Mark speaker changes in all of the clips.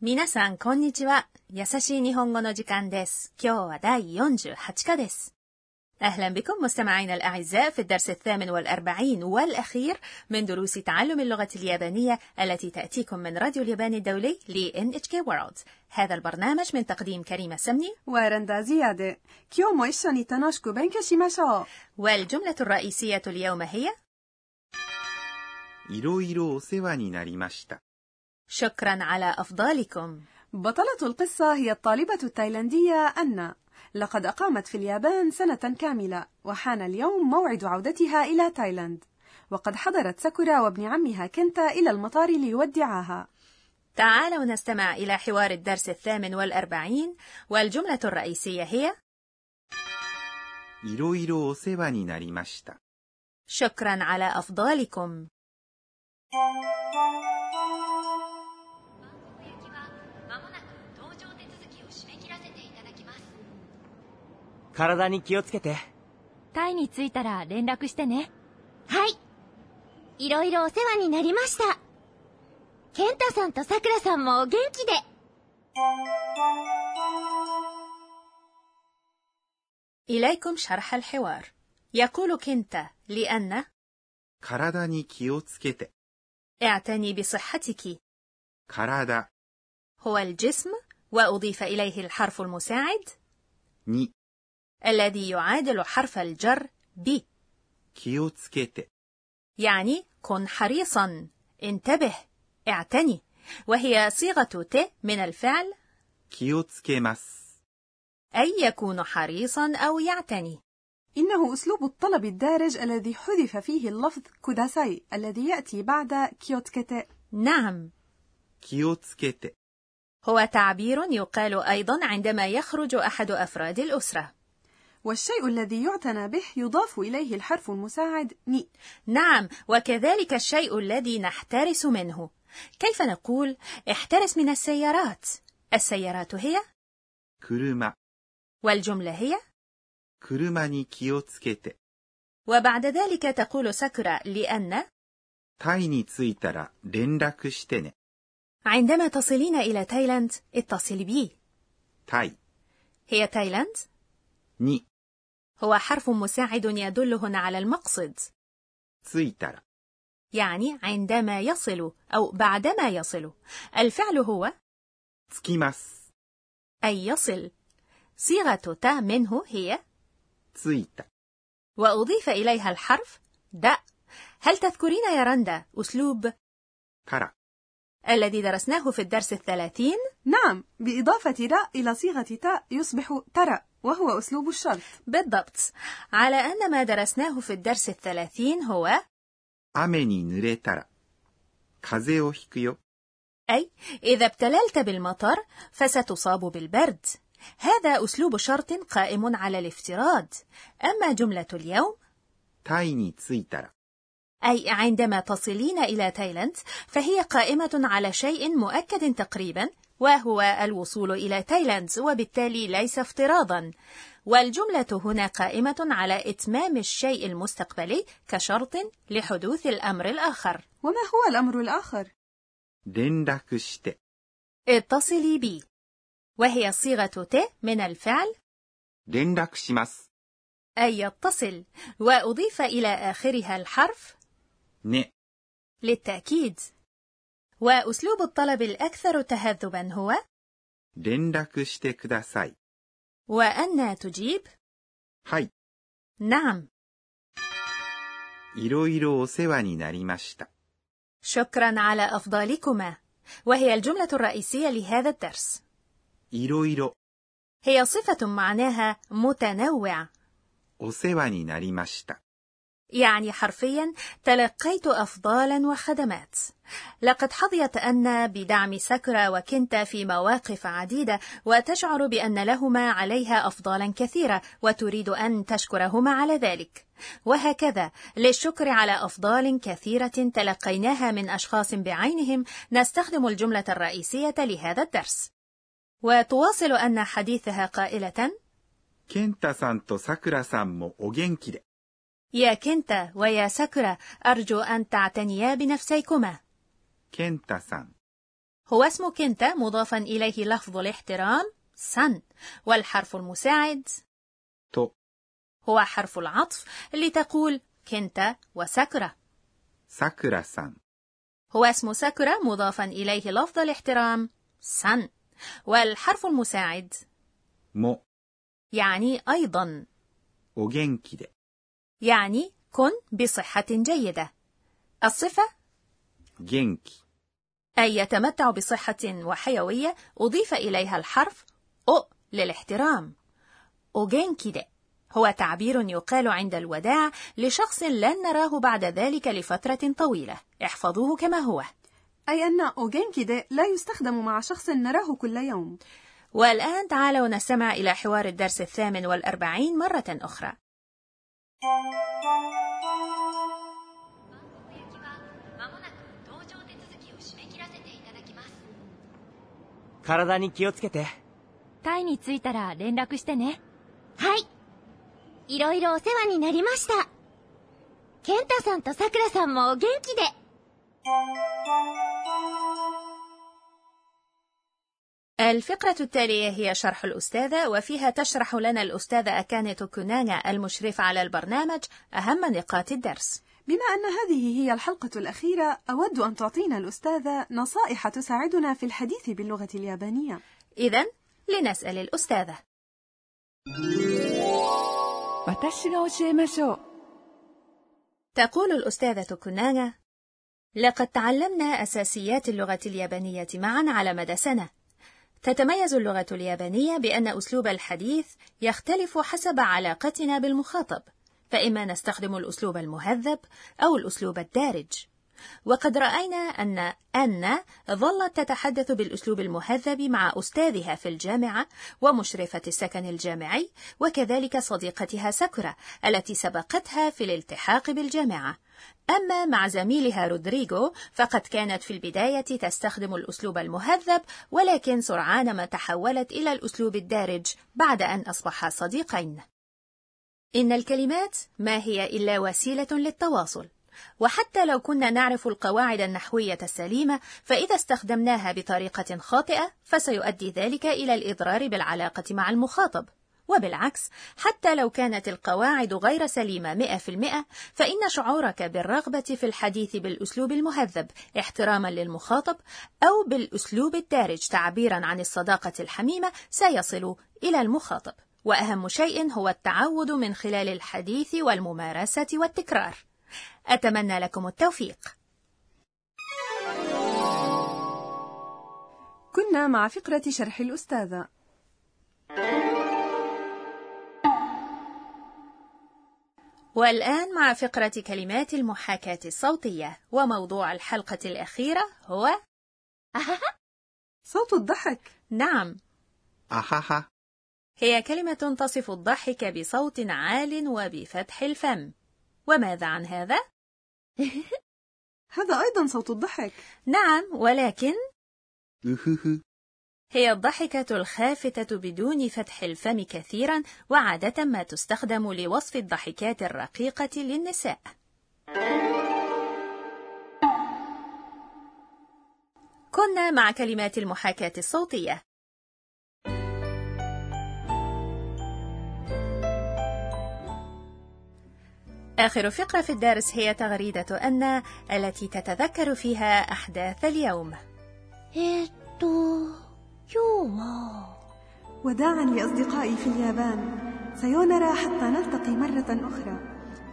Speaker 1: 皆さん、こんにちは。優しい日本語の時間です。今日は第48課です。أهلا بكم مستمعينا الأعزاء في الدرس الثامن والأربعين والأخير من دروس تعلم اللغة اليابانية التي تأتيكم من راديو اليابان الدولي ل NHK World هذا البرنامج من تقديم كريمة سمني
Speaker 2: ورندا زيادة كيومو إشاني تناشكو بنكشيماشو
Speaker 1: والجملة الرئيسية اليوم هي
Speaker 3: いろいろお世話になりました。
Speaker 1: شكرا على أفضالكم.
Speaker 2: بطلة القصة هي الطالبة التايلاندية أنا. لقد أقامت في اليابان سنة كاملة، وحان اليوم موعد عودتها إلى تايلاند. وقد حضرت ساكورا وابن عمها كنتا إلى المطار ليودعاها.
Speaker 1: تعالوا نستمع إلى حوار الدرس الثامن والأربعين، والجملة الرئيسية هي:
Speaker 3: いろいろお世話になりました。
Speaker 1: شكرا على أفضالكم.
Speaker 4: 体に気をつけて
Speaker 5: タイに着いたら連絡してね
Speaker 6: はいいろいろお世話になりました健太さんとさくらさんもお元気で
Speaker 1: イライ إليكم شرح الحوار يقول كنتا لأن
Speaker 3: 体に気をつけて
Speaker 1: اعتني بصحتك
Speaker 3: 体
Speaker 1: هو الجسم وأضيف إليه الحرف المساعد
Speaker 3: に
Speaker 1: الذي يعادل حرف الجر ب
Speaker 3: 気をつけて
Speaker 1: يعني كن حريصا انتبه اعتني وهي صيغة ت من الفعل
Speaker 3: 気をつけます
Speaker 1: أي يكون حريصا أو يعتني
Speaker 2: إنه أسلوب الطلب الدارج الذي حذف فيه اللفظ كوداساي الذي يأتي بعد كيوتكيتي
Speaker 1: نعم
Speaker 3: 気をつけて
Speaker 1: هو تعبير يقال أيضا عندما يخرج أحد أفراد الأسرة
Speaker 2: والشيء الذي يعتنى به يضاف إليه الحرف المساعد ني
Speaker 1: نعم وكذلك الشيء الذي نحترس منه كيف نقول احترس من السيارات السيارات هي
Speaker 3: 車
Speaker 1: والجملة هي
Speaker 3: 車に気をつけて
Speaker 1: وبعد ذلك تقول ساكورا لأن
Speaker 3: タイに着いたら連絡してね
Speaker 1: عندما تصلين إلى تايلاند اتصلي بي
Speaker 3: タイ
Speaker 1: هي تايلاند
Speaker 3: に
Speaker 1: هو حرف مساعد يدل هنا على المقصد
Speaker 3: 着いたら
Speaker 1: يعني عندما يصل أو بعدما يصل الفعل هو
Speaker 3: 着きます
Speaker 1: أي يصل صيغة تا منه هي
Speaker 3: 着いた
Speaker 1: وأضيف إليها الحرف د هل تذكرين يا رندا أسلوب
Speaker 3: から
Speaker 1: الذي درسناه في الدرس الثلاثين؟
Speaker 2: نعم بإضافة راء إلى صيغة تاء يصبح ترى وهو أسلوب الشرط
Speaker 1: بالضبط على أن ما درسناه في الدرس الثلاثين هو
Speaker 3: 雨に濡れたら風邪をひくよ
Speaker 1: أي إذا ابتللت بالمطر فستصاب بالبرد هذا أسلوب شرط قائم على الافتراض أما جملة اليوم
Speaker 3: タイに着いたら
Speaker 1: أي عندما تصلين إلى تايلاند فهي قائمة على شيء مؤكد تقريبا وهو الوصول إلى تايلاند وبالتالي ليس افتراضا والجملة هنا قائمة على إتمام الشيء المستقبلي كشرط لحدوث الأمر الآخر
Speaker 2: وما هو الأمر الآخر؟
Speaker 3: 連絡して
Speaker 1: اتصلي بي وهي صيغة ت من الفعل
Speaker 3: 連絡します
Speaker 1: أي يتصل وأضيف إلى آخرها الحرف
Speaker 3: ね
Speaker 1: للتأكيد وأسلوب الطلب الأكثر تهذبا هو
Speaker 3: 連絡してください
Speaker 1: وأن تجيب
Speaker 3: はい
Speaker 1: نعم
Speaker 3: いろいろお世話になりました
Speaker 1: شكرا على أفضالكما وهي الجملة الرئيسية لهذا الدرس
Speaker 3: いろいろ
Speaker 1: هي صفة معناها متنوع
Speaker 3: お世話になりました
Speaker 1: يعني حرفيا تلقيت أفضالا وخدمات لقد حظيت أن بدعم ساكورا وكنتا في مواقف عديدة وتشعر بأن لهما عليها أفضالا كثيرة وتريد أن تشكرهما على ذلك وهكذا للشكر على أفضال كثيرة تلقيناها من أشخاص بعينهم نستخدم الجملة الرئيسية لهذا الدرس وتواصل أن حديثها قائلة
Speaker 3: ケンタさんとさくらさんもお元気で
Speaker 1: يا كنتا ويا ساكورا أرجو أن تعتنيا بنفسيكما
Speaker 3: ケンタさん
Speaker 1: هو اسم كنتا مضافا إليه لفظ الاحترام سن والحرف المساعد
Speaker 3: と
Speaker 1: هو حرف العطف لتقول كنتا وساكورا
Speaker 3: さくらさん
Speaker 1: هو اسم ساكورا مضافا إليه لفظ الاحترام سن والحرف المساعد
Speaker 3: も
Speaker 1: يعني أيضا
Speaker 3: お元気で
Speaker 1: يعني كن بصحة جيدة الصفة
Speaker 3: 元気
Speaker 1: أي يتمتع بصحة وحيوية أضيف إليها الحرف أو للاحترام أوجينكيدي هو تعبير يقال عند الوداع لشخص لن نراه بعد ذلك لفترة طويلة احفظوه كما هو
Speaker 2: أي أن أوجينكيدي لا يستخدم مع شخص نراه كل يوم
Speaker 1: والآن تعالوا نستمع إلى حوار الدرس الثامن والأربعين مرة أخرى
Speaker 5: まもなく搭乗手続きを締め切らせていただきます
Speaker 4: 体に気をつけて
Speaker 5: タイに着いたら連絡してね
Speaker 6: はい。いろいろお世話になりました。ケンタさんとさくらさんもお元気で。
Speaker 1: الفقرة التالية هي شرح الأستاذة وفيها تشرح لنا الأستاذة أكاني توكونانا المشرفة على البرنامج أهم نقاط الدرس
Speaker 2: بما أن هذه هي الحلقة الأخيرة أود أن تعطينا الأستاذة نصائح تساعدنا في الحديث باللغة اليابانية
Speaker 1: إذا لنسأل الأستاذة
Speaker 7: 私が教えましょう
Speaker 1: تقول الأستاذة كنانا لقد تعلمنا أساسيات اللغة اليابانية معا على مدى سنة تتميز اللغة اليابانية بأن أسلوب الحديث يختلف حسب علاقتنا بالمخاطب فإما نستخدم الأسلوب المهذب أو الأسلوب الدارج وقد رأينا أن أن ظلت تتحدث بالأسلوب المهذب مع أستاذها في الجامعة ومشرفة السكن الجامعي وكذلك صديقتها ساكورا التي سبقتها في الالتحاق بالجامعة أما مع زميلها رودريغو فقد كانت في البداية تستخدم الأسلوب المهذب ولكن سرعان ما تحولت إلى الأسلوب الدارج بعد أن أصبحا صديقين إن الكلمات ما هي إلا وسيلة للتواصل وحتى لو كنا نعرف القواعد النحوية السليمة فإذا استخدمناها بطريقة خاطئة فسيؤدي ذلك إلى الإضرار بالعلاقة مع المخاطب وبالعكس حتى لو كانت القواعد غير سليمة 100% فإن شعورك بالرغبة في الحديث بالأسلوب المهذب احتراما للمخاطب أو بالأسلوب الدارج تعبيرا عن الصداقة الحميمة سيصل إلى المخاطب وأهم شيء هو التعود من خلال الحديث والممارسة والتكرار أتمنى لكم التوفيق
Speaker 2: كنا مع فقرة شرح الأستاذة
Speaker 1: والآن مع فقرة كلمات المحاكاة الصوتية وموضوع الحلقة الأخيرة هو
Speaker 6: あはは。
Speaker 2: صوت الضحك
Speaker 1: نعم
Speaker 3: あはは
Speaker 1: هي كلمة تصف الضحك بصوت عال وبفتح الفم وماذا عن هذا؟
Speaker 2: هذا أيضا صوت الضحك
Speaker 1: نعم ولكن
Speaker 3: うふふ
Speaker 1: هي الضحكة الخافتة بدون فتح الفم كثيرا وعادة ما تستخدم لوصف الضحكات الرقيقة للنساء. كنا مع كلمات المحاكاة الصوتية. آخر فقرة في الدرس هي تغريدة أن التي تتذكر فيها أحداث اليوم.
Speaker 6: えーっと、今日は、
Speaker 2: وداعا لأصدقائي في اليابان سيونرى حتى نلتقي مرة أخرى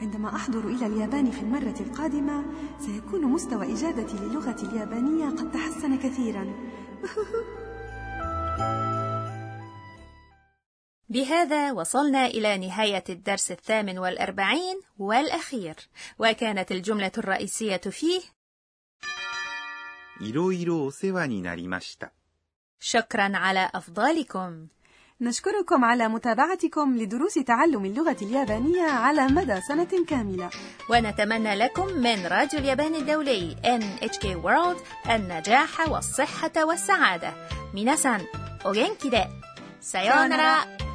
Speaker 2: عندما أحضر إلى اليابان في المرة القادمة سيكون مستوى إجادتي للغة اليابانية قد تحسن كثيرا
Speaker 1: بهذا وصلنا إلى نهاية الدرس الثامن والأربعين والأخير وكانت الجملة الرئيسية فيه
Speaker 3: いろいろお世話になりました
Speaker 1: شكرا على أفضالكم
Speaker 2: نشكركم على متابعتكم لدروس تعلم اللغة اليابانية على مدى سنة كاملة
Speaker 1: ونتمنى لكم من راديو اليابان الدولي NHK World النجاح والصحة والسعادة ميناسان أوغينكي دي سايونارا